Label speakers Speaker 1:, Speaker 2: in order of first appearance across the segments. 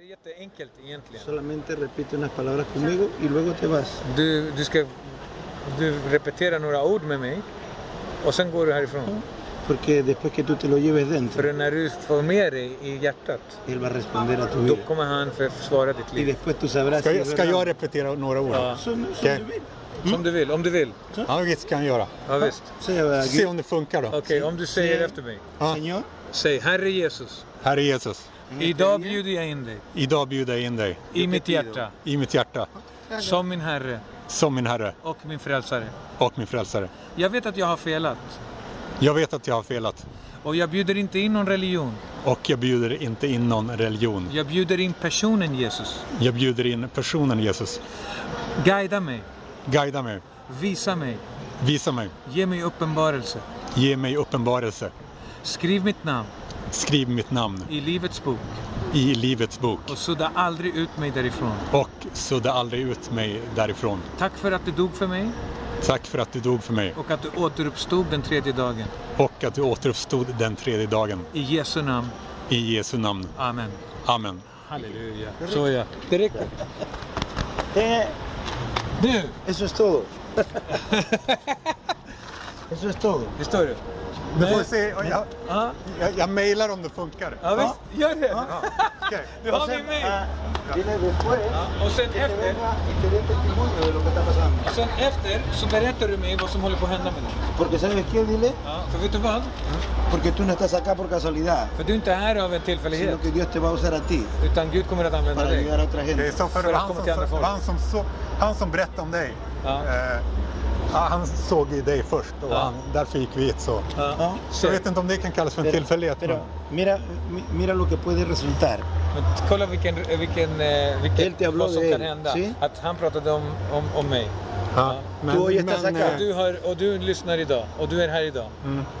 Speaker 1: är jätteenkelt egentligen.
Speaker 2: Solamente repite unas palabras conmigo y luego te vas.
Speaker 1: Du, du ska du repetera några ord med mig och sen går du härifrån.
Speaker 2: Porque después que tú te lo lleves dentro,
Speaker 1: För när du får med dig i hjärtat,
Speaker 2: él va a responder a tu
Speaker 1: då
Speaker 2: vida.
Speaker 1: kommer han för att försvara ditt
Speaker 2: Y
Speaker 1: liv.
Speaker 2: después tú sabrás
Speaker 3: Ska,
Speaker 2: si
Speaker 3: jag-
Speaker 2: es
Speaker 3: ska
Speaker 2: verdad.
Speaker 3: jag repetera några ord?
Speaker 1: Ja.
Speaker 2: Som, som
Speaker 3: Okej.
Speaker 2: du vill.
Speaker 1: Om du vill, om du vill.
Speaker 3: Ja, visst kan jag göra.
Speaker 1: Ja, visst.
Speaker 2: Säga,
Speaker 3: Se om det funkar då.
Speaker 1: Okej, om du säger efter mig.
Speaker 3: Ja.
Speaker 2: Señor,
Speaker 1: Säg Herre Jesus,
Speaker 3: Herre Jesus,
Speaker 1: idag bjuder jag in dig
Speaker 3: idag bjuder jag in dig
Speaker 1: i mitt hjärta
Speaker 3: i mitt hjärta
Speaker 1: som min Herre
Speaker 3: som min Herre
Speaker 1: och min Frälsare.
Speaker 3: och min Frälsare.
Speaker 1: Jag vet att jag har felat
Speaker 3: Jag vet att jag har felat
Speaker 1: och jag bjuder inte in någon religion.
Speaker 3: och jag bjuder inte in någon religion.
Speaker 1: Jag bjuder in personen Jesus.
Speaker 3: Jag bjuder in personen Jesus.
Speaker 1: Guida mig,
Speaker 3: Guida mig,
Speaker 1: visa mig,
Speaker 3: visa mig,
Speaker 1: ge mig uppenbarelse.
Speaker 3: ge mig uppenbarelse.
Speaker 1: Skriv mitt namn
Speaker 3: Skriv mitt namn
Speaker 1: i Livets bok
Speaker 3: i Livets bok
Speaker 1: och sudda aldrig ut mig därifrån.
Speaker 3: och sudda aldrig ut mig därifrån.
Speaker 1: Tack för att du dog för mig
Speaker 3: Tack för att du dog för mig
Speaker 1: och att du återuppstod den tredje dagen.
Speaker 3: och att du återuppstod den tredje dagen.
Speaker 1: I Jesu namn.
Speaker 3: I Jesu namn.
Speaker 1: Amen.
Speaker 3: Amen.
Speaker 1: Halleluja. Så ja. Det räcker.
Speaker 2: eh,
Speaker 1: Du,
Speaker 2: eso es todo. eso es todo.
Speaker 1: förstår du?
Speaker 3: Du får se, jag,
Speaker 1: Ja,
Speaker 3: jag, jag mejlar om det funkar.
Speaker 1: ja visst. Gör det.
Speaker 3: Ja, okej.
Speaker 1: Du
Speaker 2: O
Speaker 1: har
Speaker 2: sea,
Speaker 1: min mail. Este.
Speaker 2: ah, dile después
Speaker 1: Och sen
Speaker 2: que te
Speaker 1: efter,
Speaker 2: venga y te dé testimonio de lo que está pasando.
Speaker 1: sen efter så berättar du mig vad som håller på att hända med dig.
Speaker 2: Porque sabes qué, dile,
Speaker 1: Ja. För vet du vad?
Speaker 2: porque tú no estás acá por casualidad,
Speaker 1: För du är inte här av en tillfällighet.
Speaker 2: sino que Dios te va a usar a ti
Speaker 1: Utan Gud kommer att använda
Speaker 2: para
Speaker 1: dig.
Speaker 2: ayudar a otra
Speaker 3: Det är
Speaker 2: gente.
Speaker 3: så för,
Speaker 1: För att
Speaker 3: han,
Speaker 1: komma
Speaker 3: som,
Speaker 1: till andra folk.
Speaker 3: han, som så, han som berättade om dig.
Speaker 1: Ja.
Speaker 3: Eh, ja, han såg ju dig först och
Speaker 1: Ja.
Speaker 3: han, därför gick vi hit så.
Speaker 1: Ja.
Speaker 2: Ja.
Speaker 3: Jag
Speaker 1: Se.
Speaker 3: vet inte om det kan kallas för en
Speaker 2: Pero,
Speaker 3: tillfällighet.
Speaker 2: pero
Speaker 3: men-
Speaker 2: mira, mi- mira lo que puede resultar.
Speaker 1: Men kolla vilken, vilken, eh,
Speaker 2: Helt
Speaker 1: vilken,
Speaker 2: jävla
Speaker 1: vad som
Speaker 2: del.
Speaker 1: kan hända.
Speaker 2: Se.
Speaker 1: Att han pratade om, om, om mig.
Speaker 3: ja. men,
Speaker 2: Du har gett oss
Speaker 3: eh,
Speaker 2: akar.
Speaker 1: Och du, hör, och du lyssnar idag. Och du är här idag.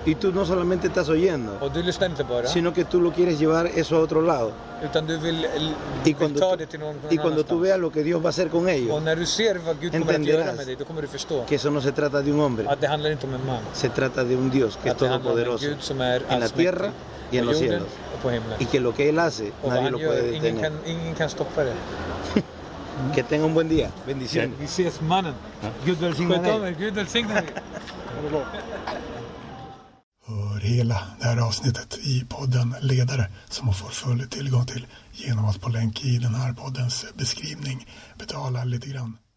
Speaker 2: Y tú no solamente estás oyendo,
Speaker 1: Och du lyssnar inte bara.
Speaker 2: sino que tú lo quieres llevar eso a otro lado.
Speaker 1: Utan du vill, l-
Speaker 2: Y
Speaker 1: vill ta
Speaker 2: cuando, tú,
Speaker 1: det till någon, någon
Speaker 2: y cuando tú
Speaker 1: annanstans.
Speaker 2: veas lo que Dios va a hacer con
Speaker 1: Och
Speaker 2: ellos,
Speaker 1: när du ser vad Gud kommer att göra
Speaker 2: Entenderás.
Speaker 1: med dig, då kommer du förstå
Speaker 2: que eso no se trata de un hombre,
Speaker 1: att det handlar inte om en man.
Speaker 2: se trata de un Dios que es
Speaker 1: Att det handlar om en
Speaker 2: todopoderoso
Speaker 1: Gud som är
Speaker 2: en la
Speaker 1: allsmäktig.
Speaker 2: tierra y en
Speaker 1: På
Speaker 2: los
Speaker 1: jorden
Speaker 2: cielos.
Speaker 1: och på himlen.
Speaker 2: Y que lo que Él hace
Speaker 1: Och vad
Speaker 2: nadie
Speaker 1: han
Speaker 2: lo puede
Speaker 1: gör, ingen
Speaker 2: detener.
Speaker 1: kan, ingen kan stoppa det.
Speaker 2: Que tenga un buen día. Bendiciones.
Speaker 1: Vi ses mannen.
Speaker 2: Gud välsigne
Speaker 1: Sköt om
Speaker 2: dig.
Speaker 1: er, Gud välsigne dig.
Speaker 4: Hör hela det här avsnittet i podden Ledare som man får full tillgång till genom att på länk i den här poddens beskrivning betala lite grann.